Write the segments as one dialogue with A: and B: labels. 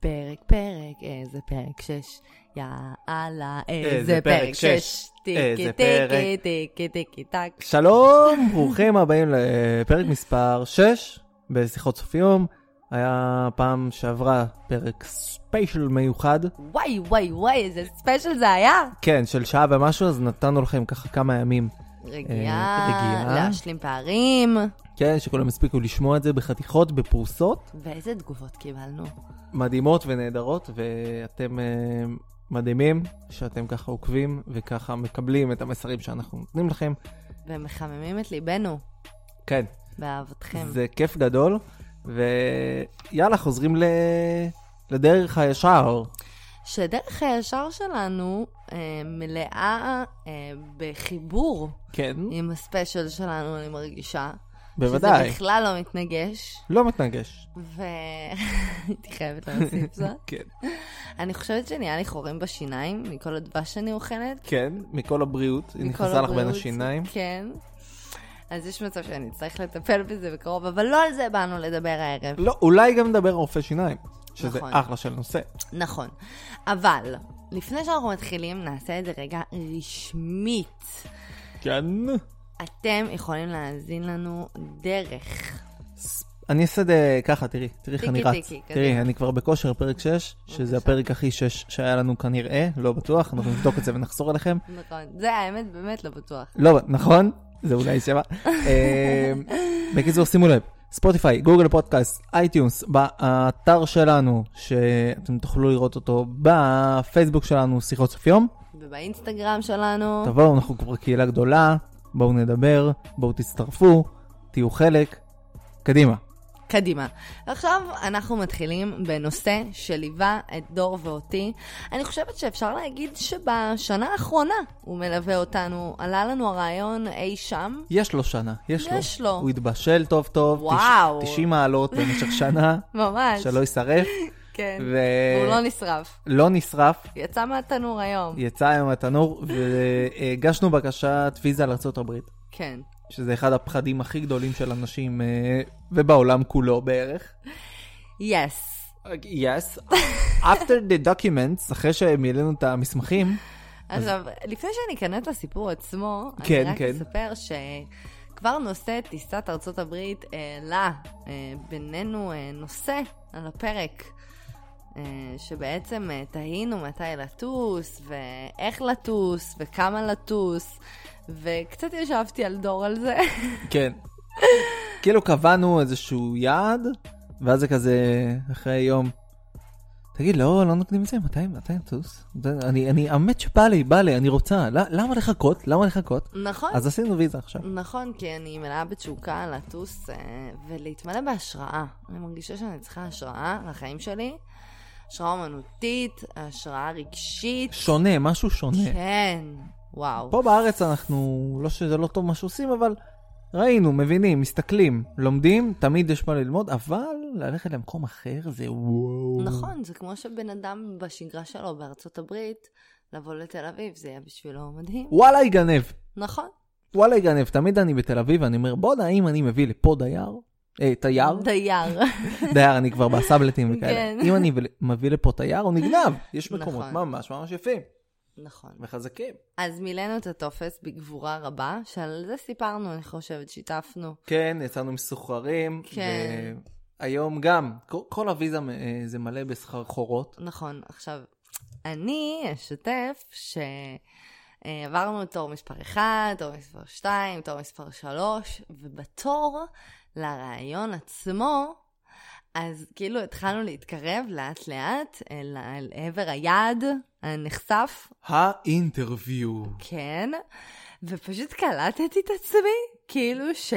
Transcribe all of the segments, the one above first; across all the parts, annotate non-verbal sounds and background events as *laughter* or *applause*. A: פרק, פרק, איזה פרק שש. יאללה,
B: איזה
A: איזה
B: פרק
A: פרק
B: שש.
A: שש.
B: איזה
A: טיקי, טיקי,
B: פרק.
A: טיקי, טיקי, טק.
B: שלום, ברוכים הבאים לפרק מספר 6 בשיחות סוף יום. היה פעם שעברה פרק ספיישל מיוחד,
A: וואי, וואי, וואי, איזה ספיישל זה היה.
B: כן, של שעה ומשהו, אז נתנו לכם ככה כמה ימים. אה,
A: רגיעה,
B: רגיעה.
A: להשלים פערים.
B: כן, שכולם הספיקו לשמוע את זה בחתיכות, בפרוסות,
A: ואיזה תגובות קיבלנו.
B: מדהימות ונהדרות, ואתם אה, מדהימים שאתם ככה עוקבים וככה מקבלים את המסרים שאנחנו נותנים לכם.
A: ומחממים את ליבנו,
B: כן,
A: באהבתכם.
B: זה כיף גדול, ויאללה, חוזרים ל... לדרך הישר.
A: שדרך הישר שלנו אה, מלאה אה, בחיבור
B: כן,
A: עם הספיישל שלנו, אני מרגישה.
B: בוודאי.
A: שזה בכלל לא מתנגש.
B: לא מתנגש.
A: *laughs* והייתי חייבת להוסיף זאת.
B: כן.
A: אני חושבת שנהיה לי חורים בשיניים מכל הדבש שאני אוכלת.
B: כן, מכל הבריאות, היא
A: מכל
B: נכנסה לך בין
A: הבריאות.
B: השיניים.
A: כן. אז יש מצב שאני אצטרך לטפל בזה בקרוב, אבל לא על זה באנו לדבר הערב.
B: לא, אולי גם נדבר על רופא שיניים, שזה
A: נכון.
B: אחלה של נושא.
A: נכון. אבל, לפני שאנחנו מתחילים, נעשה את זה רגע רשמית.
B: כן.
A: אתם יכולים להאזין לנו דרך.
B: אני אעשה את זה ככה, תראי, תראי איך
A: טיקי,
B: אני רץ.
A: טיקי, קדימה.
B: תראי, אני כבר בכושר פרק 6, שזה הפרק הכי 6 שהיה לנו כנראה, לא בטוח, אנחנו נבדוק את זה ונחזור אליכם.
A: נכון. זה האמת, באמת לא בטוח.
B: לא, נכון? זה אולי שבע. אה, בקיצור, שימו לב, ספוטיפיי, גוגל פודקאסט, אייטיונס, באתר שלנו, שאתם תוכלו לראות אותו בפייסבוק שלנו, שיחות סוף יום.
A: ובאינסטגרם שלנו,
B: תבואו, אנחנו כבר קהילה גדולה, בואו נדבר, בואו תצטרפו, תהיו חלק, קדימה.
A: קדימה. עכשיו אנחנו מתחילים בנושא שליווה את דור ואותי. אני חושבת שאפשר להגיד שבשנה האחרונה הוא מלווה אותנו. עלה לנו הרעיון אי שם.
B: יש לו שנה, יש לו.
A: יש לו.
B: הוא התבשל טוב טוב, תש-
A: וואו.
B: 90 מעלות במשך
A: *laughs*
B: שנה,
A: ממש.
B: שלא יישרף,
A: כן. ו... והוא
B: ולא
A: לא נשרף.
B: נשרף.
A: יצא מהתנור היום.
B: יצא היום התנור, והגשנו בקשת ויזה לארה"ב,
A: כן.
B: שזה אחד הפחדים הכי גדולים של אנשים, אה, ובעולם כולו בערך.
A: יס.
B: Uh, Yes. After the documents, אחרי שמילאנו את המסמכים,
A: עכשיו, לפני שאני אכנס לסיפור עצמו,
B: כן,
A: אני רק
B: כן.
A: אספר שכבר נושא טיסת ארצות הברית העלה אה, בינינו אה, נושא על הפרק, אה, שבעצם אה, תהינו מתי לטוס, ואיך לטוס, וכמה לטוס, וקצת ישבתי על דור על זה. *laughs*
B: כן. כאילו קבענו איזשהו יעד, ואז זה כזה, אחרי יום, תגיד, לא, לא נותנים את זה, מתי, מתי נטוס? אני, אני, האמת שבא לי, בא לי, אני רוצה, ל- למה לחכות? למה לחכות?
A: נכון?
B: אז עשינו ויזה עכשיו.
A: נכון, כי אני מלאה בתשוקה לטוס אה, ולהתמלא בהשראה. אני מרגישה שאני צריכה השראה לחיים שלי. השראה אומנותית, השראה רגשית.
B: שונה, משהו שונה.
A: כן, וואו.
B: פה בארץ אנחנו, לא שזה לא טוב מה שעושים, אבל ראינו, מבינים, מסתכלים, לומדים, תמיד יש מה ללמוד, אבל ללכת למקום אחר זה וואו.
A: נכון, זה כמו שבן אדם בשגרה שלו בארצות הברית, לבוא לתל אביב, זה היה בשבילו מדהים.
B: וואלה יגנב,
A: נכון.
B: וואלה יגנב. תמיד אני בתל אביב, אני אומר, בואנה, אם אני מביא לפה דייר, אה,
A: *laughs*
B: תייר,
A: דייר.
B: דייר, אני כבר בסבלטים
A: כן.
B: וכאלה. אם אני ול- מביא לפה תייר, הוא נגנב. יש מקומות
A: נכון.
B: ממש ממש יפים
A: נכון.
B: וחזקים.
A: אז מילאנו את הטופס בגבורה רבה, שעל זה סיפרנו, אני חושבת, שיתפנו.
B: כן, יצאנו מסוחררים.
A: כן.
B: היום גם, כל- כל הוויזה אה, זה מלא בסחרחורות.
A: נכון. עכשיו, אני אשתף ש... אה, עברנו את תור מספר 1, תור מספר 2, תור מספר 3, ובתור לרעיון עצמו, אז כאילו התחלנו להתקרב לאט לאט אל, אל עבר היעד הנחשף,
B: האינטרוויו.
A: כן, ופשוט קלטתי את עצמי, כאילו ש...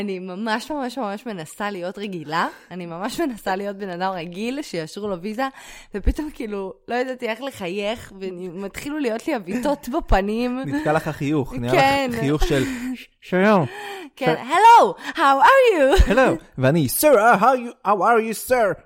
A: אני ממש ממש ממש מנסה להיות רגילה, אני ממש מנסה להיות בן אדם רגיל שיאשרו לו ויזה, ופתאום כאילו לא ידעתי איך
B: *laughs*
A: לחייך, והתחילו להיות לי הביטות בפנים.
B: נתקע לך החיוך, נראה
A: כן.
B: לך חיוך של שלום.
A: כן, hello, how are you?
B: הלו.
A: *laughs*
B: ואני, sir, uh, how you- how are you, sir?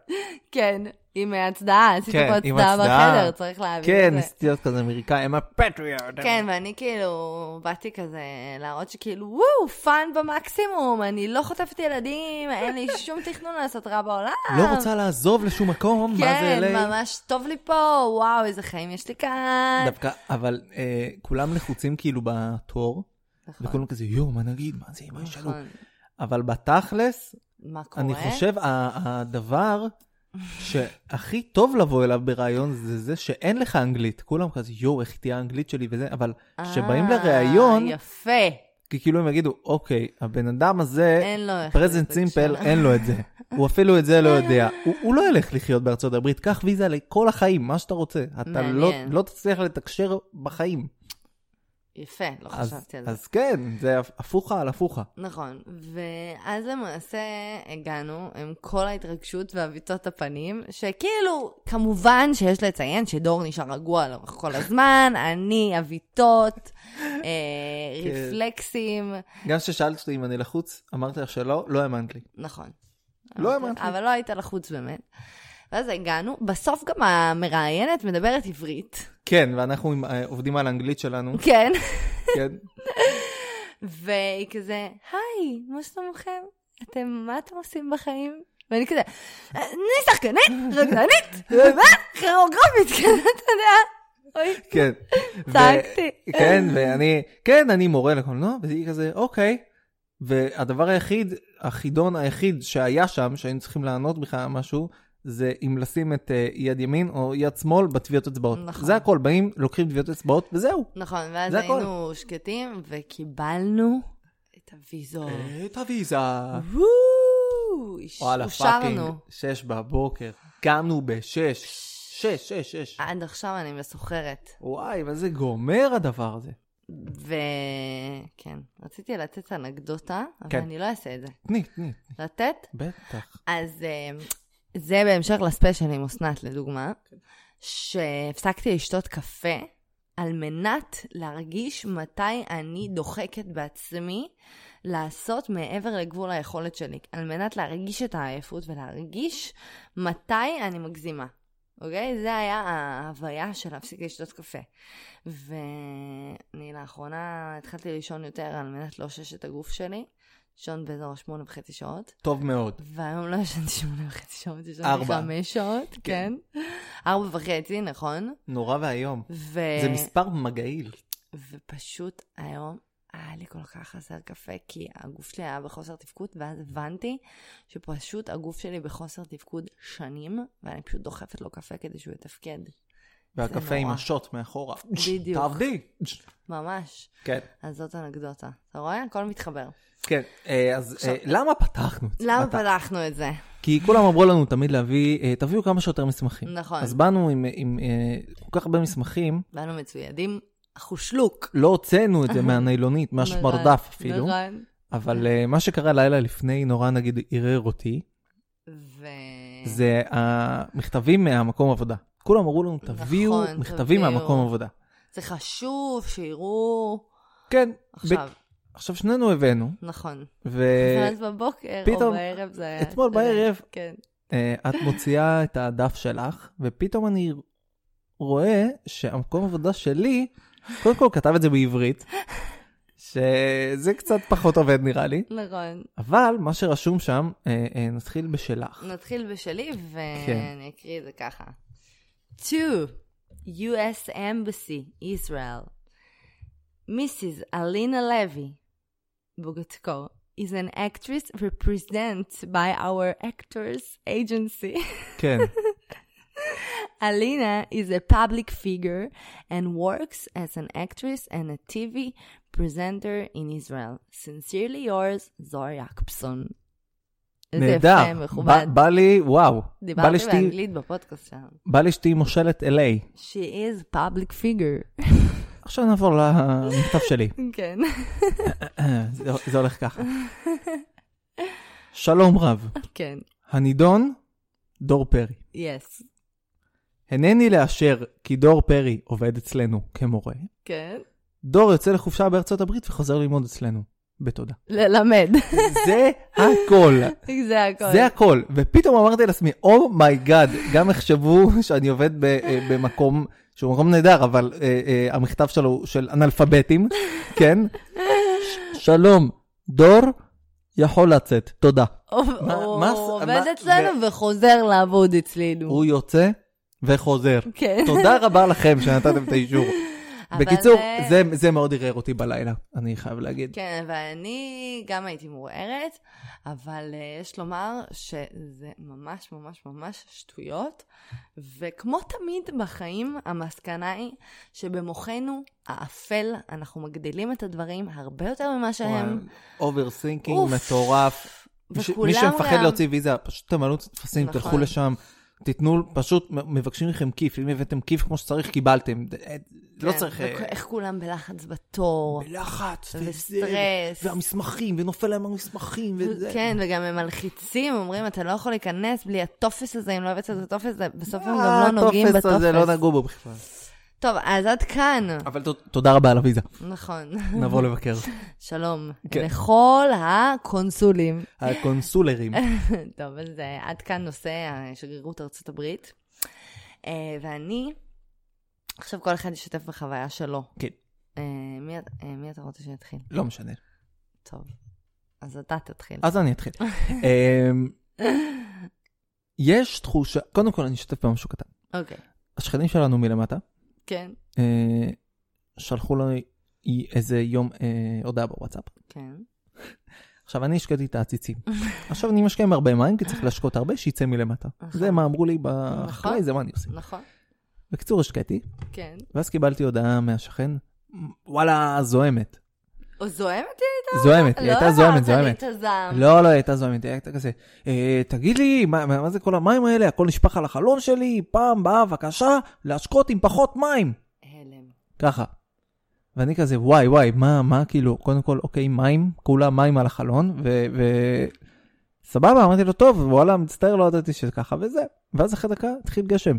A: כן, עם הצדעה, עשיתי
B: כן,
A: פה
B: עם
A: הצדעה
B: הצדעה.
A: בחדר, צריך להבין
B: כן,
A: את זה.
B: ניסיתי להיות כזה אמריקאי, I'm a patriot.
A: כן, ואני כאילו, באתי כזה להראות שכאילו, וואו, פאן במקסימום, אני לא חוטפת ילדים, אין לי שום תכנון לעשות רע בעולם.
B: לא רוצה לעזוב לשום מקום, מה זה
A: כן,
B: LA?
A: ממש טוב לי פה, וואו, איזה חיים יש לי כאן.
B: דווקא, אבל אה, כולם לחוצים כאילו בתור, וכולם כזה, יואו, מה נגיד, מה זה, מה ישאלו?
A: נכון.
B: אבל בתכלס,
A: מה קורה?
B: אני חושב, ה- הדבר שהכי טוב לבוא אליו ברעיון זה זה שאין לך אנגלית. כולם כזה, יואו, איך תהיה האנגלית שלי וזה, אבל כשבאים
A: אה,
B: לראיון,
A: יפה,
B: כי כאילו הם יגידו, אוקיי, הבן אדם הזה,
A: אין לו איך...
B: פרזנט
A: להתרגש.
B: סימפל, אין לו את זה. הוא אפילו את זה לא יודע. הוא- הוא לא ילך לחיות בארצות הברית, קח ויזה לכל החיים, מה שאתה רוצה. אתה לא-
A: מעניין.
B: לא תצליח לתקשר בחיים.
A: יפה, לא
B: אז-
A: חשבתי על זה.
B: אז כן, זה הפוכה על הפוכה.
A: נכון, ואז למעשה הגענו עם כל ההתרגשות והביטות הפנים, שכאילו, כמובן שיש לציין שדור נשאר רגוע לאורך כל
B: *laughs*
A: הזמן, אני, הביטות, אה,
B: כן.
A: רפלקסים,
B: גם כששאלת אותי אם אני לחוץ, אמרתי לך שלא, לא האמנת לי.
A: נכון.
B: לא
A: אמרתי,
B: האמנתי.
A: אבל לא היית לחוץ באמת. ואז הגענו, בסוף גם המראיינת מדברת עברית,
B: כן, ואנחנו עם- אה, עובדים על
A: *laughs*
B: האנגלית שלנו,
A: כן,
B: כן.
A: והיא כזה, היי, מה שלומכם? אתם, מה אתם עושים בחיים? ואני כזה, "אה, אני שחקנית, רגלנית, מה? כירוגרפית, כזה, אתה יודע, אוי,
B: כן. ו-
A: צעקתי.
B: כן, ואני, כן, אני מורה לקולנוע, והיא כזה, אוקיי. והדבר היחיד, החידון היחיד שהיה שם, שהיינו צריכים לענות בכלל משהו, זה אם לשים את אה, יד ימין או יד שמאל בטביעות אצבעות.
A: נכון.
B: זה הכל, באים, לוקחים טביעות אצבעות, וזהו.
A: נכון, ואז
B: זה הכל.
A: היינו שקטים, וקיבלנו את הוויזות.
B: את הוויזה.
A: וואו,
B: אה. וואלה, פאקינג,
A: אושרנו.
B: שש בבוקר. קמנו בשש. שש, שש, שש.
A: עד עכשיו אני מסוחרת.
B: וואי, מה זה גומר הדבר הזה.
A: וכן, כן, רציתי לתת אנקדוטה, אבל
B: כן.
A: אני לא אעשה את זה.
B: תני, תני,
A: לתת?
B: בטח.
A: אז אה, זה בהמשך לספיישל עם אסנת, לדוגמה, שהפסקתי לשתות קפה על מנת להרגיש מתי אני דוחקת בעצמי לעשות מעבר לגבול היכולת שלי, על מנת להרגיש את העייפות ולהרגיש מתי אני מגזימה. אוקיי? זה היה ההוויה של להפסיק לשתות קפה. ואני לאחרונה התחלתי לישון יותר על מנת לאושש את הגוף שלי, לישון באזור שמונה וחצי שעות.
B: טוב מאוד.
A: והיום לא ישנתי שמונה וחצי שעות, ישנתי
B: ארבע.
A: חמש שעות, כן. ארבע וחצי, נכון.
B: נורא ואיום.
A: ו...
B: זה מספר מגעיל.
A: ופשוט היום היה לי כל כך חסר קפה, כי הגוף שלי היה בחוסר תפקוד, ואז הבנתי שפשוט הגוף שלי בחוסר תפקוד שנים, ואני פשוט דוחפת לו קפה כדי שהוא יתפקד.
B: והקפה עם
A: נורא.
B: השוט מאחורה.
A: בדיוק.
B: תעבדי.
A: ממש.
B: כן,
A: אז זאת אנקדוטה. אתה רואה? הכל מתחבר.
B: כן. אה, אז
A: עכשיו-
B: אה, למה פתחנו את זה?
A: למה
B: אתה-
A: פתחנו את זה?
B: כי כולם אמרו לנו תמיד להביא, אה, תביאו כמה שיותר מסמכים.
A: נכון.
B: כן. אז באנו עם- עם אה, כל כך הרבה מסמכים,
A: באנו מצוידים, אחושלוק.
B: לא
A: *laughs*
B: הוצאנו את זה מהניילונית, מהשמרדף אפילו,
A: נכון.
B: אבל אה, מה שקרה לילה לפני נורא נגיד ערער אותי,
A: ו... אה.
B: זה המכתבים מהמקום עבודה. כולם אמרו לנו, תביאו
A: נכון,
B: מכתבים
A: תביאו."
B: מהמקום עבודה.
A: זה חשוב שיראו.
B: כן,
A: עכשיו,
B: עכשיו שנינו הבאנו,
A: נכון.
B: ו...
A: ואז בבוקר או
B: אה, פתאום,
A: בערב זה היה...
B: אתמול
A: אתה יודע,
B: בערב.
A: כן.
B: אה, את מוציאה את הדף שלך, ופתאום אני רואה שהמקום עבודה שלי, קודם כל כתב את זה בעברית, שזה קצת פחות עובד נראה לי,
A: נכון.
B: אבל מה שרשום שם, אה, אה, נתחיל בשלך.
A: נתחיל בשלי
B: כן.
A: ואני אקריא את זה ככה. To U.S. Embassy, Israel. Mrs. Alina Levy Bogatko is an actress represented by our actors agency.
B: כן,
A: Alina is a public figure and works as an actress and a TV presenter in Israel. Sincerely yours, זוהר יקפסון. איזה
B: נהדר.
A: יפה, מכובד.
B: בא- בא לי, וואו. בא לי
A: דיברתי
B: שתהיי-
A: באנגלית בפודקאסט שם.
B: בא לי שתהיי מושלת LA.
A: She is public figure.
B: *laughs* עכשיו נעבור למכתב שלי.
A: כן.
B: זה, זה הולך
A: *laughs*
B: ככה. שלום רב,
A: כן.
B: הנידון, דור פרי.
A: יס.
B: הנני לאשר כי דור פרי עובד אצלנו כמורה.
A: כן.
B: דור יוצא לחופשה בארצות הברית וחוזר ללמוד אצלנו. בתודה. *laughs*
A: ללמד.
B: זה הכל.
A: זה הכל.
B: זה הכל. ופתאום אמרתי לעצמי, אומייגאד, גם יחשבו *laughs* שאני עובד ב- אה, במקום שהוא מקום נהדר, אבל אה, אה, המכתב שלו הוא של אנאלפביתים, *laughs* כן? ש- שלום, דור יכול לצאת, תודה.
A: הוא
B: מה- מה עשה-
A: הוא עובד
B: מה-
A: אצלנו וחוזר לעבוד אצלנו.
B: הוא יוצא וחוזר.
A: כן.
B: תודה רבה לכם שנתתם את האישור.
A: *laughs* אבל אה,
B: בקיצור,
A: זה-
B: זה- זה מאוד ערער אותי בלילה, אני חייב להגיד.
A: כן, אבל אני גם הייתי מעורערת, אבל אה, יש לומר שזה ממש ממש ממש שטויות, וכמו תמיד בחיים, המסקנה היא שבמוחנו האפל, אנחנו מגדילים את הדברים הרבה יותר ממה כן. שהם.
B: אוברסינקינג
A: אוף.
B: מטורף. מי ש-
A: וכולם
B: מי שמפחד
A: גם-
B: להוציא ויזה, פשוט תמלאו את הטפסים,
A: נכון.
B: תלכו לשם, תיתנו, פשוט מ- מבקשים מכם כיף, אם הבאתם כיף כמו שצריך, קיבלתם. ד- אה, לא
A: כן,
B: צריך...
A: וכ-
B: אה,
A: איך כולם בלחץ בתור.
B: לחץ, וזה,
A: וסטרס.
B: והמסמכים, ונופל להם המסמכים, וזה.
A: כן, וגם הם מלחיצים, אומרים, אתה לא יכול להיכנס בלי הטופס הזה, אם לא הבאת את הטופס הזה, בסוף הם גם לא נוגעים בטופס.
B: אה, הטופס הזה, לא נגעו בו בכלל.
A: טוב, אז עד כאן.
B: אבל ת- תודה רבה על
A: *laughs*
B: הוויזה,
A: נכון. *laughs*
B: נבוא לבקר.
A: שלום
B: כן.
A: לכל הקונסולים. *laughs*
B: הקונסולרים.
A: טוב, אז אה, עד כאן נושא שגרירות ארצות הברית. אה, ואני, עכשיו כל אחד ישתף בחוויה שלו.
B: כן.
A: אה, מי את- אה, מי אתה רוצה שיתחיל?
B: לא משנה.
A: טוב. אז אתה תתחיל.
B: אז אני אתחיל. אמ, יש תחושה, קודם כל אני אשתף במשהו קטן.
A: *laughs* אוקיי.
B: השכנים שלנו מלמטה,
A: כן,
B: אה, שלחו לנו אי- איזה יום אה, הודעה בוואטסאפ.
A: כן.
B: עכשיו, אני השקעתי
A: *laughs*
B: את העציצים. עכשיו, אני משקיע עם הרבה מים, כי צריך להשקות הרבה, שיצא מלמטה.
A: נכון.
B: זה מה אמרו לי בחקלאי, זה מה אני עושה.
A: נכון?
B: בקיצור, השקעתי,
A: כן.
B: ואז קיבלתי הודעה מהשכן, וואלה, זוהמת.
A: או זוהמת לי?
B: זוהמת, היא
A: לא
B: הייתה
A: אמרת
B: זוהמת,
A: לי
B: זוהמת.
A: את הזעם.
B: לא, לא, היא הייתה זוהמת, היא הייתה כזה, "אה, תגיד לי, מה- מה מה זה כל המים האלה? הכל נשפך על החלון שלי, פעם באה בבקשה להשקות עם פחות מים.
A: הלם.
B: ככה. ואני כזה, וואי, וואי, מה, מה, כאילו, קודם כל, אוקיי, מים, כולה מים על החלון, ו... ו... סבבה, אמרתי לו, טוב, וואלה, מצטער, לא ידעתי שככה וזה. ואז אחרי דקה התחיל
A: *laughs*
B: גשם.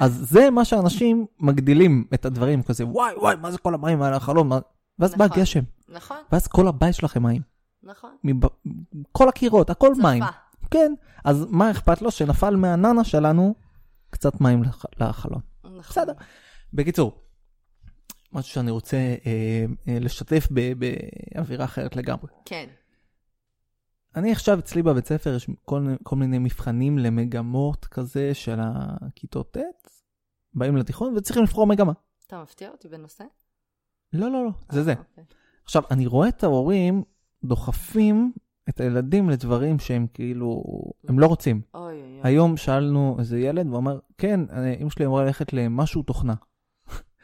B: אז זה מה שאנשים מגדילים את הדברים, כזה, וואי, וואי, מה זה כל המים על החלון? מה... ואז בא
A: נכון.
B: גשם,
A: נכון,
B: ואז כל הבית שלכם מים.
A: נכון.
B: מב... כל הקירות, הכל מים.
A: צפה.
B: כן, אז מה אכפת לו שנפל מהננה שלנו קצת מים לח... לחלון?
A: נכון.
B: בסדר. בקיצור, משהו שאני רוצה אה, אה, לשתף ב- באווירה אחרת לגמרי.
A: כן.
B: אני עכשיו אצלי בבית ספר, יש כל, כל מיני מבחנים למגמות כזה של הכיתות ט', באים לתיכון וצריכים לבחור מגמה.
A: אתה מפתיע אותי בנושא?
B: לא, לא, לא, זה זה.
A: אוקיי.
B: עכשיו, אני רואה את ההורים דוחפים את הילדים לדברים שהם כאילו, הם לא רוצים.
A: אוי אוי אוי.
B: היום שאלנו איזה ילד, והוא אמר, כן, אה, אמא שלי אמורה ללכת למשהו תוכנה.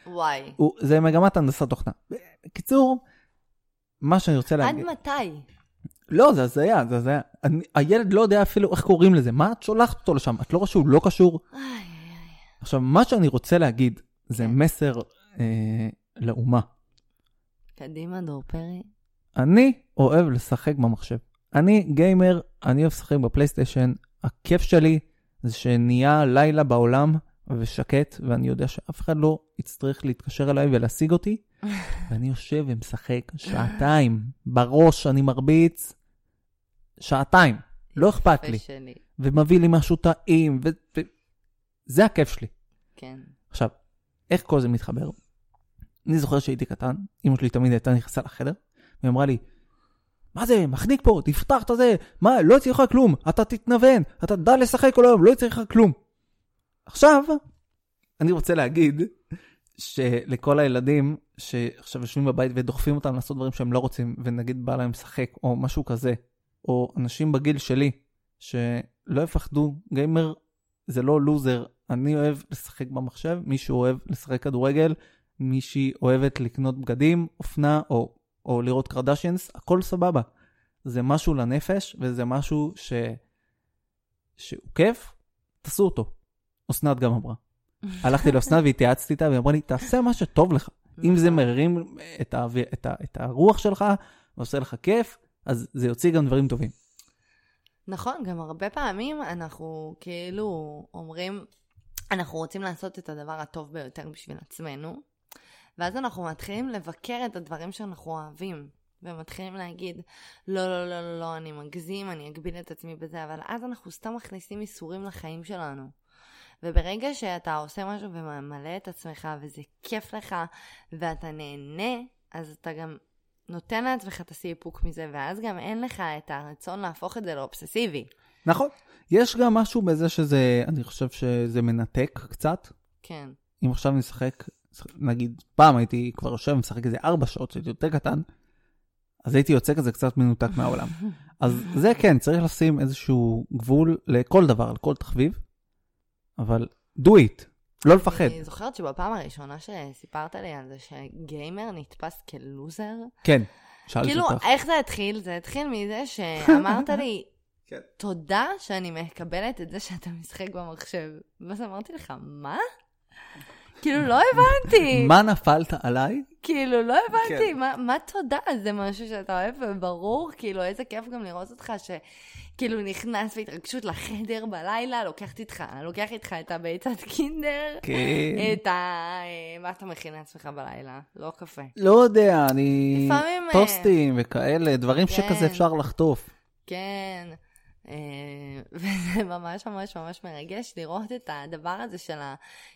A: וואי.
B: הוא, זה מגמת הנדסת תוכנה. בקיצור, מה שאני רוצה
A: עד
B: להגיד...
A: מתי?
B: לא, זה הזיה, זה הזיה. אני, הילד לא יודע אפילו איך קוראים לזה. מה את שולחת אותו לשם? את לא רואה שהוא לא קשור?
A: איי, איי, איי.
B: עכשיו, מה שאני רוצה להגיד זה
A: כן.
B: מסר אה, לאומה.
A: קדימה, דור פרי.
B: אני אוהב לשחק במחשב. אני גיימר, אני אוהב לשחק בפלייסטיישן. הכיף שלי זה שנהיה לילה בעולם ושקט, ואני יודע שאף אחד לא יצטרך להתקשר אליי ולהשיג אותי. ואני יושב ומשחק שעתיים. בראש אני מרביץ שעתיים. לא אכפת לי.
A: יפה שלי.
B: ומביא לי משהו טעים, ו... ו... זה הכיף שלי.
A: כן.
B: עכשיו, איך כל זה מתחבר? אני זוכר שהייתי קטן, אמא שלי תמיד הייתה נכנסה לחדר, והיא אמרה לי, מה זה, מחניק פה, תפתח את הזה, מה, לא יצא לך כלום, אתה תתנוון, אתה דע לשחק כל היום, לא יצא לך כלום. עכשיו, אני רוצה להגיד שלכל הילדים שעכשיו יושבים בבית ודוחפים אותם לעשות דברים שהם לא רוצים, ונגיד בא להם לשחק, או משהו כזה, או אנשים בגיל שלי, שלא יפחדו, גיימר זה לא לוזר, אני אוהב לשחק במחשב, מישהו אוהב לשחק כדורגל, מישהי אוהבת לקנות בגדים, אופנה או, או לראות קרדשיאנס, הכל סבבה. זה משהו לנפש וזה משהו ש... שהוא כיף, תעשו אותו. אסנת גם אמרה. הלכתי לאסנת והתייעצתי איתה, והיא אמרה לי, תעשה מה שטוב לך. אם
A: נכון.
B: זה מרים את, האוויר, את, ה, את הרוח שלך, ועושה לך כיף, אז זה יוציא גם דברים טובים.
A: נכון, גם הרבה פעמים אנחנו כאילו אומרים, אנחנו רוצים לעשות את הדבר הטוב ביותר בשביל עצמנו, ואז אנחנו מתחילים לבקר את הדברים שאנחנו אוהבים. ומתחילים להגיד, לא, לא, לא, לא, לא, אני מגזים, אני אגביל את עצמי בזה, אבל אז אנחנו סתם מכניסים איסורים לחיים שלנו. וברגע שאתה עושה משהו וממלא את עצמך, וזה כיף לך, ואתה נהנה, אז אתה גם נותן לעצמך את הסיפוק מזה, ואז גם אין לך את הרצון להפוך את זה לאובססיבי.
B: נכון. יש גם משהו בזה שזה, אני חושב שזה מנתק קצת.
A: כן.
B: אם עכשיו נשחק, נגיד, פעם הייתי כבר יושב ומשחק איזה ארבע שעות, שהייתי יותר קטן, אז הייתי יוצא כזה קצת מנותק
A: *laughs*
B: מהעולם. אז זה כן, צריך לשים איזשהו גבול לכל דבר, לכל תחביב, אבל do it, לא לפחד.
A: אני זוכרת שבפעם הראשונה שסיפרת לי על זה שגיימר נתפס כלוזר,
B: כן, שאלתי
A: כאילו,
B: אותך.
A: איך זה התחיל? זה התחיל מזה שאמרת לי,
B: כן.
A: תודה שאני מקבלת את זה שאתה משחק במחשב. ואז אמרתי לך, מה? כאילו, לא הבנתי.
B: מה נפלת עליי?
A: כאילו, לא הבנתי,
B: כן.
A: מה, מה תודה? זה משהו שאתה אוהב, וברור, כאילו, איזה כיף גם לראות אותך שכאילו נכנס בהתרגשות לחדר בלילה, לוקח איתך, לוקח איתך את הביצת קינדר,
B: כן.
A: את ה... אה, מה אתה מכין לעצמך בלילה? לא קפה.
B: לא יודע, אני...
A: לפעמים, אה,
B: טוסטים וכאלה, דברים
A: כן.
B: שכזה אפשר לחטוף.
A: כן. אה, *laughs* וזה ממש ממש ממש מרגש לראות את הדבר הזה של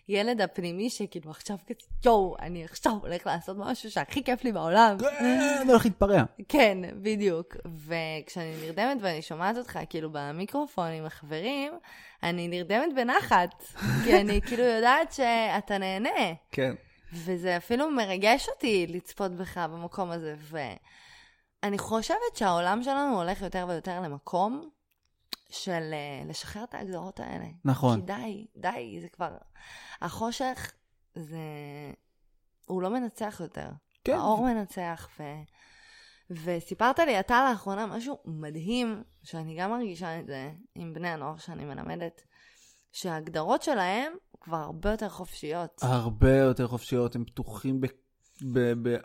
A: הילד הפנימי שכאילו עכשיו כזה, יואו, אני עכשיו הולך לעשות משהו שהכי כיף לי בעולם.
B: כן, אני הולך להתפרע.
A: כן, בדיוק. וכשאני נרדמת ואני שומעת אותך כאילו במיקרופון עם החברים, אני נרדמת בנחת, כי *laughs* אני כאילו יודעת שאתה נהנה.
B: כן.
A: וזה אפילו מרגש אותי לצפות בך במקום הזה. ואני חושבת שהעולם שלנו הולך יותר ויותר למקום של אה, לשחרר את ההגדרות האלה.
B: נכון.
A: כי די, די, זה כבר... החושך, זה... הוא לא מנצח יותר.
B: כן.
A: האור מנצח, ו... וסיפרת לי אתה לאחרונה משהו מדהים, שאני גם מרגישה את זה עם בני הנוער שאני מלמדת, שההגדרות שלהם כבר הרבה יותר חופשיות.
B: הרבה יותר חופשיות, הם פתוחים ב... ב... ב...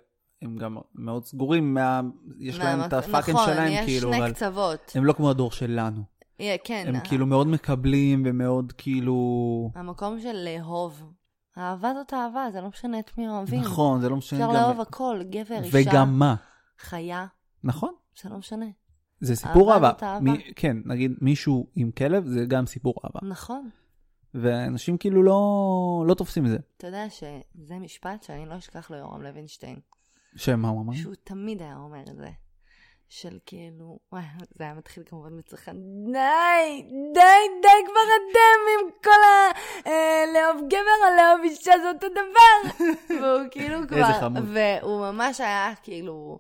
B: הם גם מאוד סגורים, מה... יש להם את הפאקינג שלהם, כאילו,
A: נכון,
B: אבל
A: יש שני קצוות.
B: הם לא כמו הדור שלנו.
A: אה, כן.
B: הם
A: ה-
B: כאילו מאוד מקבלים ומאוד כאילו...
A: המקום של לאהוב. אהבה זאת אהבה, זה לא משנה את מי אוהבים.
B: נכון, זה לא משנה
A: אפשר לאהוב הכל, גבר, אישה,
B: וגם מה.
A: חיה,
B: נכון,
A: זה לא משנה.
B: זה סיפור
A: אהבה
B: אהבה.
A: זאת אהבה.
B: מי- כן, נגיד מישהו עם כלב, זה גם סיפור אהבה.
A: נכון.
B: ואנשים כאילו לא, לא תופסים את זה.
A: אתה יודע שזה משפט שאני לא אשכח ליורם לוינשטיין,
B: שמה הוא אמר?
A: שהוא תמיד היה אומר את זה. של כאילו, וואי, זה היה מתחיל כמובן מצחן, די, די, די כבר אתם עם כל ה... אה, לאהוב גבר או לאהוב אישה זאת
B: *laughs*
A: הדבר. והוא כאילו כבר...
B: איזה חמוד.
A: והוא ממש היה כאילו...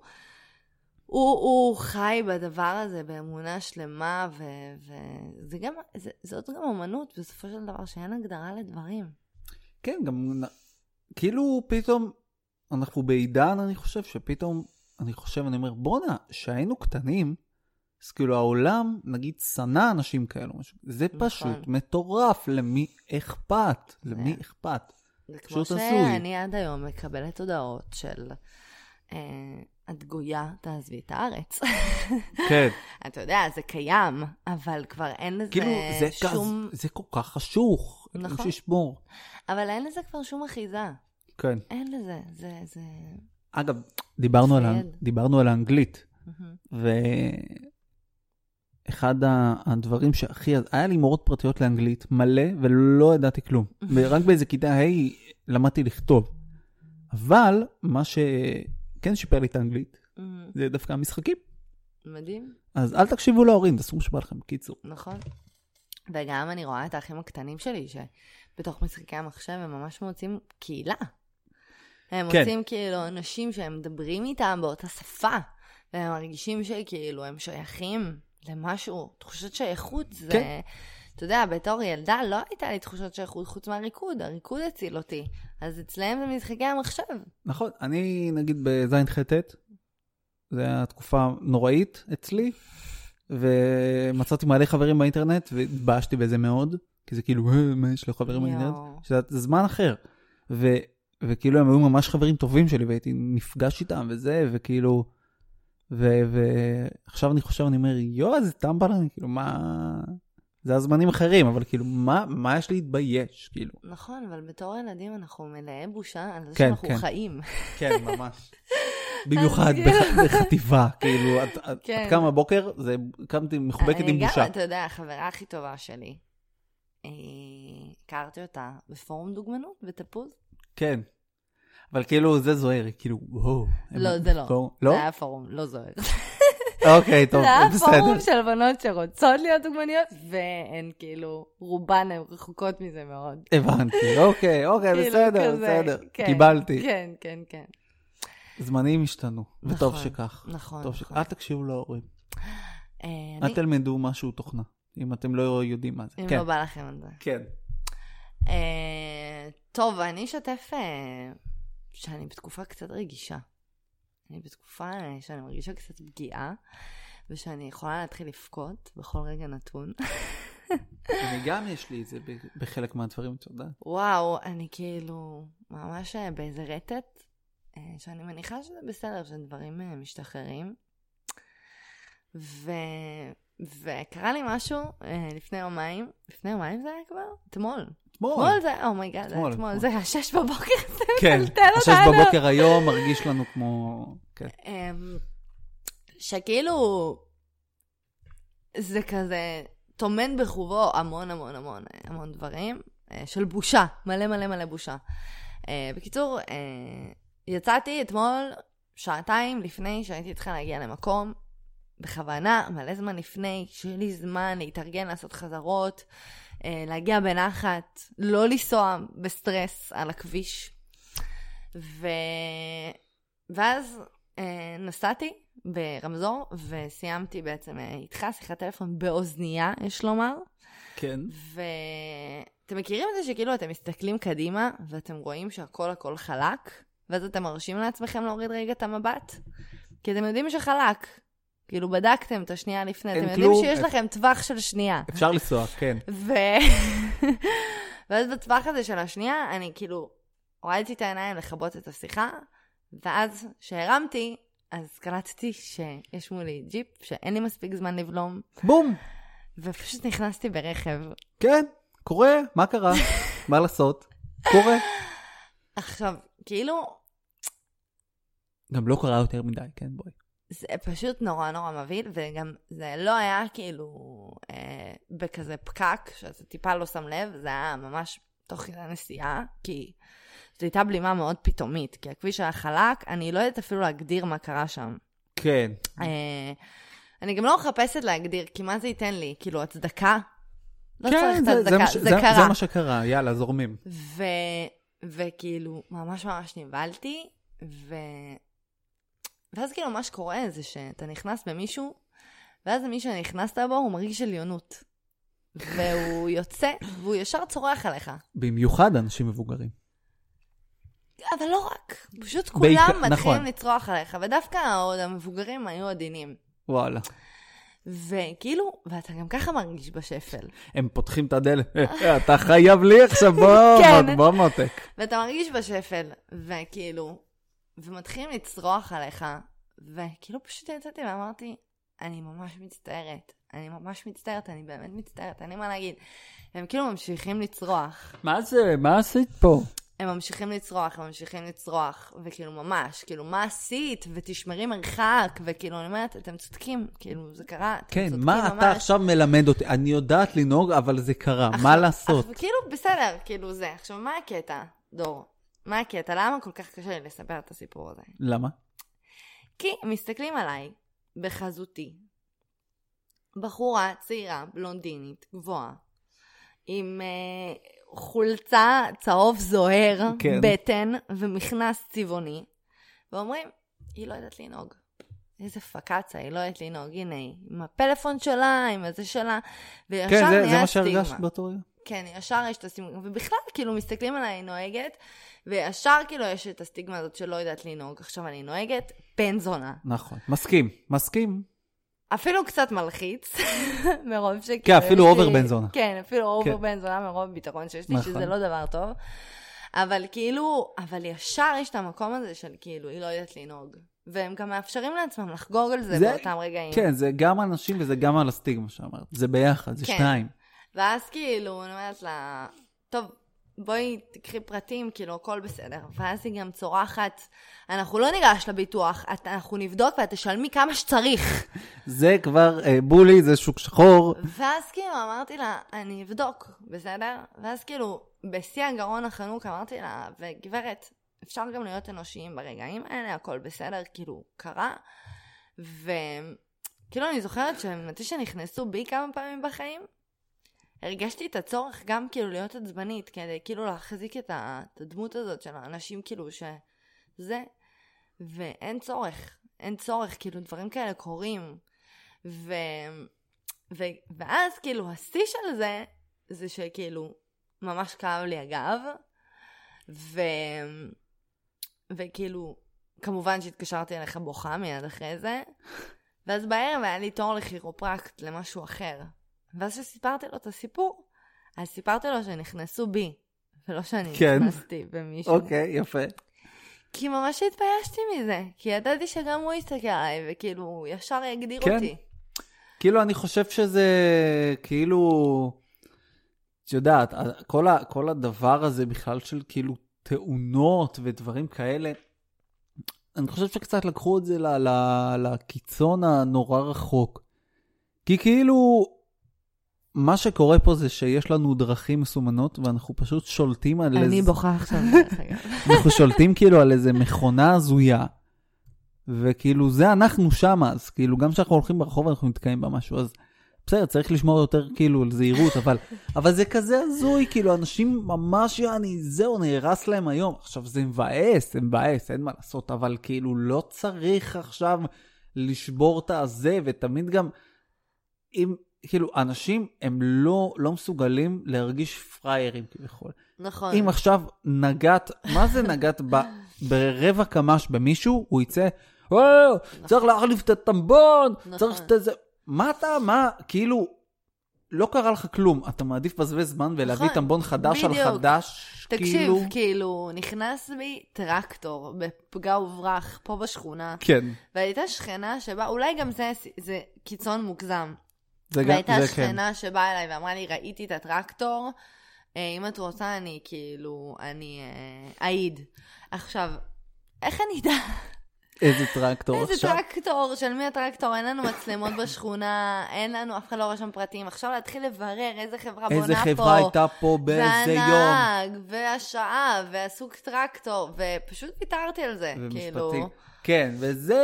A: הוא, הוא חי בדבר הזה באמונה שלמה, ו, וזה גם, זה, זאת גם אומנות בסופו של דבר, שאין הגדרה לדברים.
B: כן, גם נ- כאילו פתאום אנחנו בעידן, אני חושב, שפתאום, אני חושב, אני אומר, בואנה, שהיינו קטנים, אז כאילו העולם, נגיד, שנא אנשים כאלו, משהו. זה
A: נכון.
B: פשוט מטורף, למי אכפת? למי
A: זה-
B: אכפת?
A: זה כמו
B: פשוט הזוי.
A: שאני עד היום מקבלת הודעות של אה, את גויה, תעזבי את הארץ. *laughs*
B: כן.
A: אתה יודע, זה קיים, אבל כבר אין לזה
B: כאילו, זה,
A: שום...
B: כז, זה כל כך חשוך.
A: נכון.
B: נכון. שישבור.
A: אבל אין לזה כבר שום אחיזה.
B: כן.
A: אין לזה, זה... זה...
B: אגב, דיברנו על, ה-
A: כן.
B: דיברנו על האנגלית,
A: מהמם.
B: ואחד ה- הדברים שהכי, היה לי מורות פרטיות לאנגלית מלא, ולא ידעתי כלום. ורק באיזה כיתה ה' למדתי לכתוב. אבל מה שכן שיפר לי את האנגלית,
A: מהמם.
B: זה דווקא המשחקים.
A: מדהים,
B: אז אל תקשיבו להורים, תעשו מה שבא לכם, קיצור.
A: נכון. וגם אני רואה את האחים הקטנים שלי, שבתוך משחקי המחשב הם ממש מוצאים קהילה. הם
B: כן.
A: מוצאים כאילו אנשים שהם מדברים איתם באותה שפה, והם מרגישים שכאילו הם שייכים למשהו. תחושת שייכות זה...
B: כן.
A: אתה יודע, בתור ילדה לא הייתה לי תחושת שייכות חוץ מהריקוד, הריקוד הציל אותי. אז אצלהם זה משחקי המחשב.
B: נכון, אני נגיד בז' ח' ט', זו הייתה תקופה נוראית אצלי, ומצאתי מלא חברים באינטרנט, והתבאשתי בזה מאוד, כי זה כאילו, "אה, מה יש לו חברים באינטרנט?
A: יואו.
B: שזה זה זמן אחר. ו, וכאילו הם היו ממש חברים טובים שלי, והייתי נפגש איתם וזה, וכאילו... ו- ועכשיו אני חושב, אני אומר, יואו, איזה טמבלן, כאילו, מה... זה הזמנים אחרים, אבל כאילו, מה, מה יש להתבייש, כאילו?
A: נכון, אבל בתור ילדים אנחנו מלאי בושה על זה
B: כן,
A: שאנחנו
B: כן.
A: *laughs* חיים.
B: כן, ממש. במיוחד
A: אז
B: בח-
A: *laughs*
B: בחטיבה, כאילו, את- את
A: כן.
B: את קמה בבוקר, זה- קמתי מחובקת עם בושה.
A: אני גם, אתה יודע, החברה הכי טובה שלי, אה, הכרתי אותה בפורום דוגמנות, בתפוז.
B: כן. אבל כאילו, זה זוהר, כאילו, וואו. הם-
A: לא, זה לא.
B: פור- לא?
A: זה היה פורום, לא זוהר.
B: אוקיי, טוב,
A: זה היה
B: *laughs* בסדר.
A: פורום של בנות שרוצות להיות דוגמניות, והן כאילו, רובן הן רחוקות מזה מאוד.
B: הבנתי, אוקיי, אוקיי,
A: כאילו,
B: אה, בסדר,
A: כזה,
B: בסדר.
A: כן,
B: קיבלתי.
A: *laughs* כן, כן, כן.
B: זמנים השתנו, וטוב
A: נכון,
B: שכך.
A: נכון,
B: טוב שכך.
A: נכון.
B: אל תקשיבו להורים.
A: אה,
B: אל
A: אני-
B: תלמדו משהו תוכנה, אם אתם לא יודעים מה זה.
A: אם
B: כן.
A: לא בא לכם את זה.
B: כן.
A: אה, טוב, אני אשתף אה, שאני בתקופה קצת רגישה. אני בתקופה אה, שאני מרגישה קצת פגיעה, ושאני יכולה להתחיל לבכות בכל רגע נתון. *laughs*
B: אני גם יש לי את זה ב- בחלק מהדברים, אתה יודע.
A: וואו, אני כאילו ממש אה, באיזה רטט, אה, שאני מניחה שזה בסדר, שדברים אה, משתחררים. ו... וקרה לי משהו אה, לפני יומיים, לפני יומיים זה היה כבר? אתמול.
B: אתמול.
A: אתמול זה היה, אומייגאד, זה היה
B: אתמול,
A: אתמול,
B: אתמול.
A: זה היה שש בבוקר, זה *laughs*
B: כן,
A: מטלטל אותנו.
B: השש בבוקר היום מרגיש לנו כמו... כן.
A: אמ, שכאילו, זה כזה טומן בחובו המון המון המון אה, המון דברים אה, של בושה, מלא מלא מלא בושה. אה, בקיצור, אה, יצאתי אתמול שעתיים לפני שהייתי צריכה להגיע למקום, בכוונה, מלא זמן לפני, שיהיה לי זמן להתארגן, לעשות חזרות, אה, להגיע בנחת, לא לנסוע בסטרס על הכביש. ו... ואז אה, נסעתי ברמזור, וסיימתי בעצם אה, איתך שיחת טלפון באוזנייה, יש לומר.
B: כן.
A: ואתם מכירים את זה שכאילו אתם מסתכלים קדימה, ואתם רואים שהכל הכל חלק, ואז אתם מרשים לעצמכם להוריד רגע את המבט? כי אתם יודעים שחלק. כאילו בדקתם את השנייה לפני,
B: אין
A: אתם יודעים
B: כלום,
A: שיש
B: אה.
A: לכם טווח של שנייה.
B: אפשר לנסוע, כן.
A: ו... *laughs* ואז בטווח הזה של השנייה, אני כאילו הורדתי את העיניים לכבות את השיחה, ואז כשהרמתי, אז קלטתי שיש מולי ג'יפ, שאין לי מספיק זמן לבלום,
B: בום!
A: ופשוט נכנסתי ברכב.
B: כן, קורה, מה קרה? מה לעשות? קורה.
A: עכשיו, כאילו,
B: גם לא קרה יותר מדי, כן, בואי.
A: זה פשוט נורא נורא מבהיל, וגם זה לא היה כאילו אה, בכזה פקק, שאתה טיפה לא שם לב, זה היה ממש תוך כדי נסיעה, כי זו הייתה בלימה מאוד פתאומית, כי הכביש היה חלק, אני לא יודעת אפילו להגדיר מה קרה שם.
B: כן.
A: אה, אני גם לא מחפשת להגדיר, כי מה זה ייתן לי? כאילו, הצדקה? לא
B: כן,
A: צריך את
B: זה- זה מה
A: הצדקה,
B: ש-
A: זה קרה.
B: זה מה שקרה, יאללה, זורמים.
A: ו... וכאילו, ממש ממש נבהלתי, ו... ואז כאילו מה שקורה זה שאתה נכנס במישהו, ואז מי שנכנסת בו הוא מרגיש עליונות.
B: *laughs*
A: והוא יוצא, והוא ישר צורח עליך.
B: במיוחד אנשים מבוגרים.
A: אבל לא רק, פשוט כולם
B: בעיקר-
A: מתחילים
B: נכון.
A: לצרוח עליך, ודווקא עוד המבוגרים היו עדינים.
B: וואלה.
A: וכאילו, ואתה גם ככה מרגיש בשפל.
B: הם פותחים את הדלת, *laughs* "אה, אתה חייב לי עכשיו,
A: *laughs*
B: בוא,
A: כן.
B: מות- בוא מותק.
A: ואתה מרגיש בשפל, וכאילו, ומתחילים לצרוח עליך, וכאילו פשוט יצאתי ואמרתי, אני ממש מצטערת, אני ממש מצטערת, אני באמת מצטערת, אין לי מה להגיד. הם כאילו ממשיכים לצרוח,
B: מה זה? מה עשית פה?
A: הם ממשיכים לצרוח, הם ממשיכים לצרוח, וכאילו ממש, כאילו, מה עשית? ותשמרי מרחק, וכאילו, אני אומרת, אתם צודקים, כאילו, זה קרה, אתם
B: כן,
A: צודקים
B: מה
A: ממש.
B: אתה עכשיו מלמד אותי? אני יודעת לנהוג, אבל זה קרה, מה
A: עכשיו-
B: לעשות?
A: עכשיו, כאילו, בסדר, כאילו זה. עכשיו, מה הקטע, דור? מה הקטע? למה כל כך קשה לי לספר את הסיפור הזה?
B: למה?
A: כי כן, מסתכלים עליי בחזותי. בחורה צעירה, בלונדינית, גבוהה, עם אה, חולצה צהוב זוהר,
B: כן.
A: כן. בטן ומכנס צבעוני, ואומרים, היא לא יודעת לנהוג. איזה פקצה, היא לא יודעת לנהוג, הנה היא, עם הפלאפון שלה, עם הזה שלה, וישר
B: כן, זה-
A: נהיה
B: זה מה
A: סטיגמה.
B: שהרגשת באותו רגע?
A: כן, ישר יש את הסטיגמה, ובכלל, כאילו, מסתכלים עליי נוהגת, וישר כאילו יש את הסטיגמה הזאת שלא יודעת לנהוג. עכשיו אני נוהגת, בן זונה.
B: נכון. מסכים, מסכים.
A: אפילו קצת מלחיץ, *laughs* מרוב שכאילו...
B: כן, אפילו
A: יש
B: אובר
A: לי-
B: בן זונה.
A: כן, אפילו אובר
B: כן.
A: בן זונה מרוב ביטחון שיש לי,
B: נכון.
A: שזה לא דבר טוב. אבל כאילו, אבל ישר יש את המקום הזה של כאילו, היא לא יודעת לנהוג. והם גם מאפשרים לעצמם לחגוג על זה,
B: זה-
A: באותם רגעים.
B: כן, זה גם אנשים וזה גם על הסטיגמה שאמרת. זה ביחד, זה
A: כן.
B: שתיים.
A: ואז כאילו, אני אומרת לה, טוב, בואי תקחי פרטים, כאילו, הכל בסדר. ואז היא גם צורחת, אנחנו לא ניגש לביטוח, את, אנחנו נבדוק ואת תשלמי כמה שצריך.
B: זה כבר אה, בולי, זה שוק שחור.
A: ואז כאילו אמרתי לה, אני אבדוק, בסדר? ואז כאילו, בשיא הגרון החנוק אמרתי לה, וגברת, אפשר גם להיות אנושיים ברגעים האלה, הכל בסדר, כאילו, קרה. וכאילו, אני זוכרת שמתי שנכנסו בי כמה פעמים בחיים, הרגשתי את הצורך גם כאילו להיות עצבנית, כדי כאילו להחזיק את ה- את הדמות הזאת של האנשים כאילו שזה, ואין צורך, אין צורך, כאילו דברים כאלה קורים. ו... ו... ואז כאילו השיא של זה, זה שכאילו ממש כאב לי הגב, ו... וכאילו, כמובן שהתקשרתי אליך בוכה מיד אחרי זה, ואז בערב היה לי תור לכירופרקט, למשהו אחר. ואז כשסיפרתי לו את הסיפור, אז סיפרתי לו שנכנסו בי, ולא שאני
B: כן.
A: נכנסתי במישהו.
B: אוקיי, יפה.
A: כי ממש התביישתי מזה, כי ידעתי שגם הוא יסתכל עליי, וכאילו, הוא ישר יגדיר
B: כן.
A: אותי.
B: כאילו, אני חושב שזה, כאילו, את יודעת, כל, ה, כל הדבר הזה בכלל של כאילו תאונות ודברים כאלה, אני חושב שקצת לקחו את זה ל, ל, לקיצון הנורא רחוק. כי כאילו, מה שקורה פה זה שיש לנו דרכים מסומנות, ואנחנו פשוט שולטים על
A: אני
B: איזה...
A: בוכה עכשיו, דרך אגב.
B: אנחנו שולטים כאילו על איזה מכונה הזויה, וכאילו זה אנחנו שם אז, כאילו גם כשאנחנו הולכים ברחוב אנחנו נתקעים במשהו, אז בסדר, צריך לשמור יותר כאילו על זהירות, אבל, אבל זה כזה הזוי, כאילו אנשים ממש יעני, זהו, נהרס להם היום. עכשיו זה מבאס, זה מבאס, אין מה לעשות, אבל כאילו לא צריך עכשיו לשבור את הזה, ותמיד גם, אם, כאילו, אנשים הם לא, לא מסוגלים להרגיש פראיירים כביכול.
A: נכון.
B: אם עכשיו נגעת, מה זה נגעת
A: *laughs*
B: ב, ברבע קמ"ש במישהו, הוא יצא, "וואו,
A: נכון.
B: צריך להחליף את הטמבון, צריך את זה, מה אתה, מה, כאילו, לא קרה לך כלום, אתה מעדיף לבזבז זמן ולהביא
A: נכון,
B: טמבון חדש על
A: בדיוק.
B: חדש,
A: תקשיב,
B: כאילו,
A: כאילו, נכנס בי טרקטור בפגע וברח פה בשכונה,
B: כן,
A: והייתה שכנה שבאה, אולי גם זה, זה קיצון מוגזם,
B: זה גם,
A: והייתה
B: זה כן,
A: שכנה שבאה אליי ואמרה לי, ראיתי את הטרקטור, אה, אם את רוצה, אני כאילו, אני אה, אעיד. עכשיו, איך אני
B: *laughs*
A: אדע?
B: איזה טרקטור
A: איזה
B: לא, עכשיו,
A: טרקטור? של מי הטרקטור? אין לנו מצלמות בשכונה, אין לנו, אף אחד לא רשם פרטים. עכשיו להתחיל לברר איזה חברה בונה פה.
B: איזה חברה הייתה פה באיזה יום,
A: והנהג, והשעה, והסוג טרקטור, ופשוט ויתרתי על זה, כאילו.
B: ומשפטים, כן, וזה,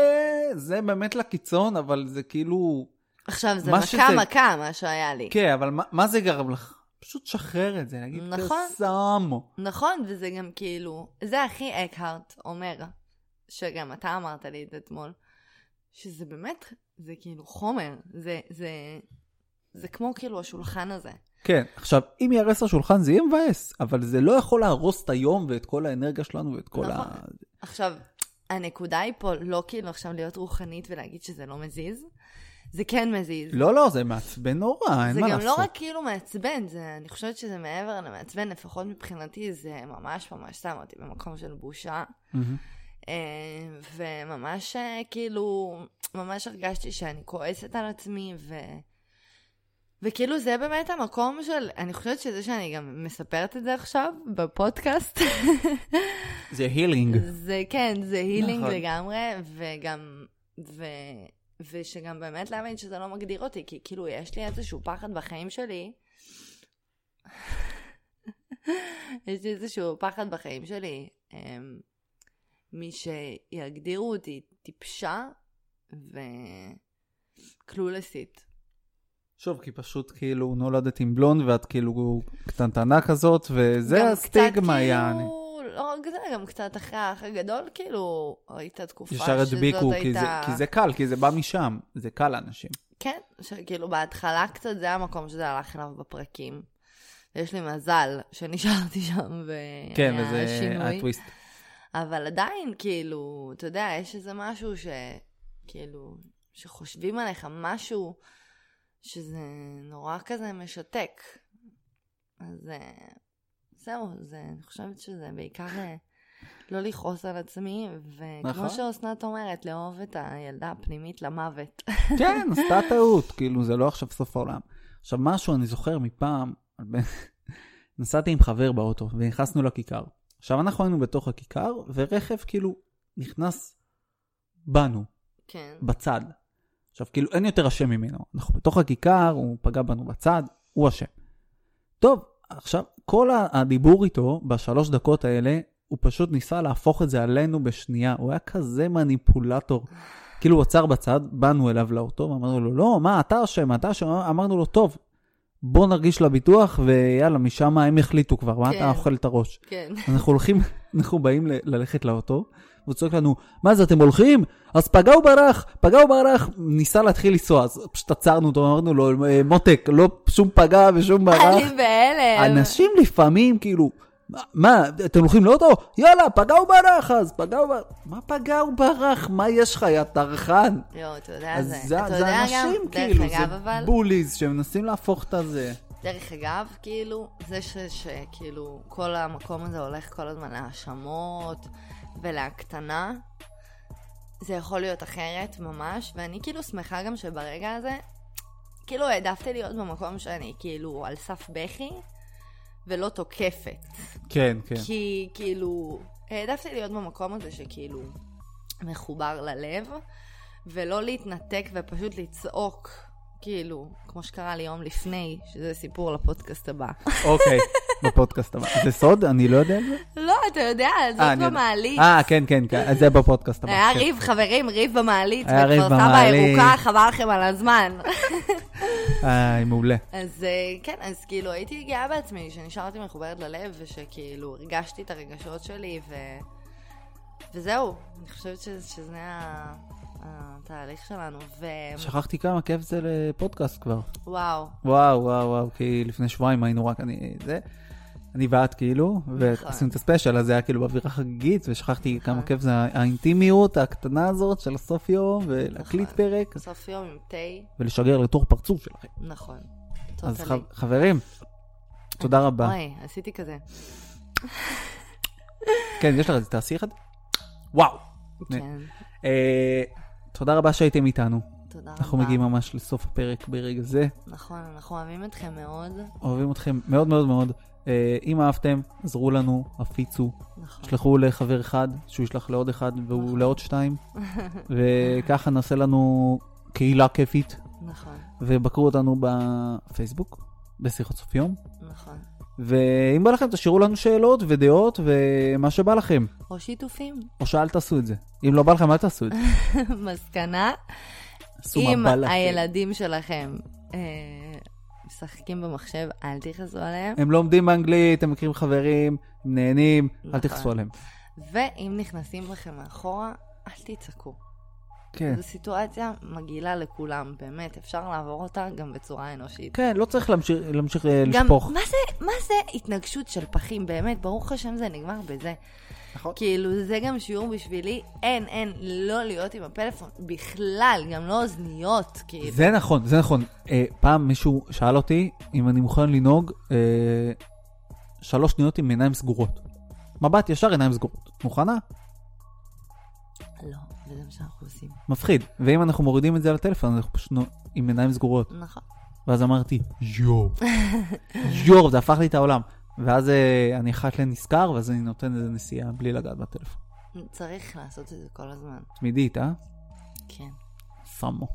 B: זה באמת לקיצון, אבל זה כאילו,
A: עכשיו, זה
B: מה
A: מכה
B: שזה-
A: מכה, מה שהיה לי.
B: כן, אבל מה, מה זה גרם לך? פשוט שחרר את זה, להגיד,
A: נכון.
B: תסמו.
A: נכון, וזה גם כאילו, זה הכי אקהרט אומר, שגם אתה אמרת לי את זה אתמול, שזה באמת, זה כאילו חומר, זה, זה, זה כמו כאילו השולחן הזה.
B: כן, עכשיו, אם ייהרס השולחן זה יהיה מבאס, אבל זה לא יכול להרוס את היום ואת כל האנרגיה שלנו ואת כל ה...
A: נכון. עכשיו, הנקודה היא פה לא כאילו עכשיו להיות רוחנית ולהגיד שזה לא מזיז, זה כן מזיז.
B: לא, לא, זה מעצבן נורא, אין
A: זה
B: מה
A: גם
B: לעשות.
A: לא רק כאילו מעצבן, זה, אני חושבת שזה מעבר למעצבן, לפחות מבחינתי זה ממש ממש שם אותי במקום של בושה.
B: מהמם.
A: אה, וממש אה, כאילו, ממש הרגשתי שאני כועסת על עצמי, ו... וכאילו זה באמת המקום של, אני חושבת שזה שאני גם מספרת את זה עכשיו בפודקאסט, *laughs*
B: זה הילינג.
A: זה כן, זה הילינג
B: נכון.
A: לגמרי, וגם, ו... ושגם באמת להבין שזה לא מגדיר אותי, כי כאילו יש לי איזשהו פחד בחיים שלי. *laughs* יש לי איזשהו פחד בחיים שלי, אמ, משיגדירו אותי טיפשה וכלולסית.
B: שוב, כי פשוט כאילו נולדת עם בלונד ואת כאילו קטנטנה כזאת, וזה
A: גם קצת
B: הסטיגמה, יעני.
A: כאילו, לא רק זה, גם קצת אחרי האח הגדול, כאילו, הייתה תקופה שזאת
B: ישר
A: הייתה...
B: הדביקו, כי זה- כי זה קל, כי זה בא משם. זה קל לאנשים.
A: כן, שכאילו בהתחלה קצת זה המקום שזה הלך אליו בפרקים. ויש לי מזל שנשארתי שם והיה
B: כן, וזה
A: שינוי.
B: הטוויסט.
A: אבל עדיין, כאילו, אתה יודע, יש איזה משהו שכאילו, שחושבים עליך משהו שזה נורא כזה משתק. אז אה, זהו, זה, אני חושבת שזה בעיקר אה, לא לכעוס על עצמי, וכמו
B: נכון.
A: שאסנת אומרת, לאהוב את הילדה הפנימית
B: *laughs*
A: למוות.
B: כן, עשתה טעות, כאילו, זה לא עכשיו סוף העולם. עכשיו, משהו אני זוכר מפעם, על בן- נסעתי עם חבר באוטו, ונכנסנו לכיכר. עכשיו, אנחנו היינו בתוך הכיכר, ורכב כאילו נכנס בנו,
A: כן.
B: בצד. עכשיו, כאילו, אין יותר אשם ממנו. אנחנו בתוך הכיכר, הוא פגע בנו בצד, הוא אשם. טוב, עכשיו, כל ה- הדיבור איתו בשלוש דקות האלה, הוא פשוט ניסה להפוך את זה עלינו בשנייה. הוא היה כזה מניפולטור. כאילו, הוא עצר בצד, באנו אליו לאוטו, ואמרנו לו, לא, מה, אתה אשם, אתה אשם. אמרנו לו, טוב, בוא נרגיש לביטוח, ויאללה, משם הם יחליטו כבר, מה
A: כן.
B: אתה אוכל את הראש?
A: כן.
B: אנחנו הולכים, *laughs* אנחנו באים ל- ללכת לאוטו, והוא צועק לנו, מה זה, אתם הולכים? אז פגע וברח, פגע וברח, ניסה להתחיל לנסוע, אז פשוט עצרנו אותו, אמרנו לו, "אה, מותק, לא שום פגע ושום ברח.
A: אני בהלם.
B: אנשים לפעמים, כאילו, "מה- מה, אתם הולכים לאוטו? יאללה, פגע וברח, אז פגע וברח. מה פגע וברח? מה יש לך, יא טרחן?
A: לא, אתה יודע
B: אז
A: זה.
B: זה
A: אתה
B: זה
A: יודע גם,
B: אנשים,
A: דרך
B: כאילו,
A: אגב,
B: זה
A: אבל,
B: בוליז שמנסים להפוך את הזה.
A: דרך אגב, כאילו, זה ש- שכאילו כל המקום הזה הולך כל הזמן להאשמות ולהקטנה, זה יכול להיות אחרת ממש, ואני כאילו שמחה גם שברגע הזה, כאילו העדפתי להיות במקום שאני כאילו על סף בכי, ולא תוקפת.
B: כן,
A: *laughs*
B: כן.
A: כי כאילו, העדפתי להיות במקום הזה שכאילו מחובר ללב, ולא להתנתק ופשוט לצעוק, כאילו, כמו שקרה לי יום לפני, שזה סיפור לפודקאסט
B: *laughs*
A: הבא.
B: אוקיי, בפודקאסט הבא. זה סוד? אני לא יודע את זה.
A: לא, אתה יודע,
B: אה,
A: זאת
B: אני יודע.
A: במעלית.
B: אה, כן, כן, כן, אז זה בפודקאסט הבא.
A: היה
B: כן.
A: ריב, חברים, ריב במעלית,
B: היה ריב
A: בכפר סבא
B: במעלית.
A: ירוקה, חבל לכם על הזמן.
B: אה, מעולה.
A: אז אה, כן, אז כאילו הייתי גאה בעצמי, שנשארתי מחוברת ללב, ושכאילו הרגשתי את הרגשות שלי, ו... וזהו, אני חושבת ש... שזה ה... התהליך שלנו,
B: שכחתי כמה כיף זה לפודקאסט כבר.
A: ווואו,
B: וואו, וואו, וואו, כי לפני שבועיים היינו רק אני, זה, אני ואת כאילו,
A: נכון.
B: ועשינו את הספיישל, אז זה היה כאילו באווירה חגיגית, ושכחתי כמה כיף זה האינטימיות הקטנה הזאת של הסוף יום, ולהקליט
A: נכון.
B: פרק,
A: סוף יום עם תה,
B: ולשגר לתוך פרצוף שלכם.
A: נכון.
B: אז
A: טוטלי.
B: ח- חברים, תודה רבה.
A: אוי, עשיתי כזה.
B: כן, יש לך את זה, תעשי אחד? וואו.
A: כן,
B: אה, תודה רבה שהייתם איתנו.
A: תודה רבה.
B: אנחנו מגיעים ממש לסוף הפרק ברגע זה.
A: נכון, אנחנו אוהבים אתכם מאוד.
B: אוהבים אתכם מאוד מאוד מאוד. אה, אם אהבתם, עזרו לנו, הפיצו,
A: נכון.
B: שלחו לחבר אחד, שהוא ישלח לעוד אחד והוא לעוד
A: *laughs*
B: שתיים, וככה נעשה לנו קהילה כיפית,
A: נכון,
B: ובקרו אותנו בפייסבוק, בשיחות סוף יום,
A: נכון.
B: ואם בא לכם, תשאירו לנו שאלות ודעות ומה שבא לכם,
A: או שיתופים.
B: או שאל תעשו את זה. אם לא בא לכם, אל תעשו את זה.
A: *laughs* מסקנה,
B: עשו מה בא
A: אם
B: לכם.
A: הילדים שלכם אה, משחקים במחשב, אל תכעסו עליהם.
B: הם לומדים באנגלית, הם מכירים חברים, הם נהנים, אל
A: נכון. *laughs*
B: תכעסו עליהם.
A: ואם נכנסים לכם מאחורה, אל תצעקו.
B: כן.
A: זו סיטואציה מגעילה לכולם, באמת, אפשר לעבור אותה גם בצורה אנושית.
B: כן, לא צריך להמשיך- להמשיך אה,
A: גם,
B: לשפוך.
A: מה זה, מה זה התנגשות של פחים, באמת, ברוך השם זה נגמר בזה.
B: נכון.
A: כאילו, זה גם שיעור בשבילי, אין, אין, לא להיות עם הפלאפון בכלל, גם לא אוזניות, כאילו.
B: זה נכון, זה נכון. אה, פעם מישהו שאל אותי אם אני מוכן לנהוג אה, שלוש שניות עם עיניים סגורות. מבט ישר, עיניים סגורות. מוכנה?
A: לא, וזה מה שאנחנו עושים.
B: מפחיד. ואם אנחנו מורידים את זה לטלפון, אנחנו פשוט נו- עם עיניים סגורות.
A: נכון.
B: ואז אמרתי, יואו. יואו, זה הפך לי את העולם. ואז אה, אני אחת לנזכר, ואז אני נותן איזה נסיעה בלי לגעת בטלפון.
A: צריך לעשות את זה כל הזמן,
B: תמידית, אה?
A: כן.
B: סמו.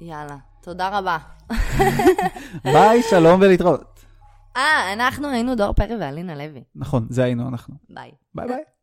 A: יאללה, תודה רבה.
B: ביי, שלום ולהתראות.
A: אה, אנחנו היינו דור פרי ואלינה לוי.
B: נכון, זה היינו אנחנו.
A: ביי.
B: ביי ביי.